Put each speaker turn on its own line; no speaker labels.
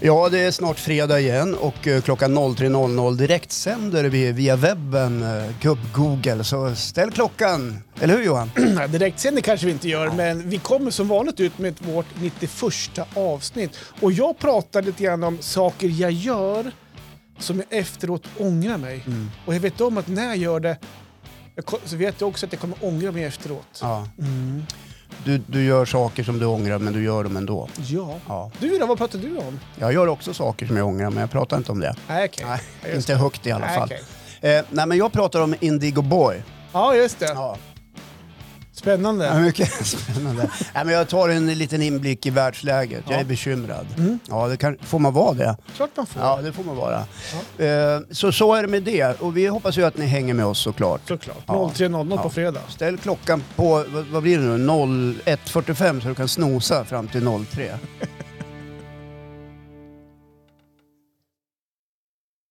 Ja, det är snart fredag igen och eh, klockan 03.00 direkt sänder vi via webben, eh, gubb-Google. Så ställ klockan, eller hur Johan?
Nej, direktsändning kanske vi inte gör, men vi kommer som vanligt ut med vårt 91 avsnitt. Och jag pratar lite grann om saker jag gör som jag efteråt ångrar mig.
Mm.
Och jag vet om att när jag gör det jag ko- så vet jag också att jag kommer ångra mig efteråt. Ja.
Ja.
Mm.
Du, du gör saker som du ångrar, men du gör dem ändå. Ja.
Du då, vad pratar du om?
Jag gör också saker som jag ångrar, men jag pratar inte om det.
Nej, okej.
Nej,
Just
inte högt i alla
Nej,
fall.
okej.
Eh, nej, men jag pratar om Indigo Boy.
Ja, just det.
Ja.
Spännande.
Ja, mycket spännande. Nej, men jag tar en liten inblick i världsläget. Jag är
Ja. Mm.
bekymrad. Ja, det kan, får man vara det?
Klart man får.
Ja, det får man vara. Eh, så så är det med det. Och vi hoppas ju att ni hänger med oss såklart.
Såklart.
Ja.
03.00 på
Ja.
fredag.
Ställ klockan på, vad, vad blir det nu, 01.45 så du kan snosa fram till 03.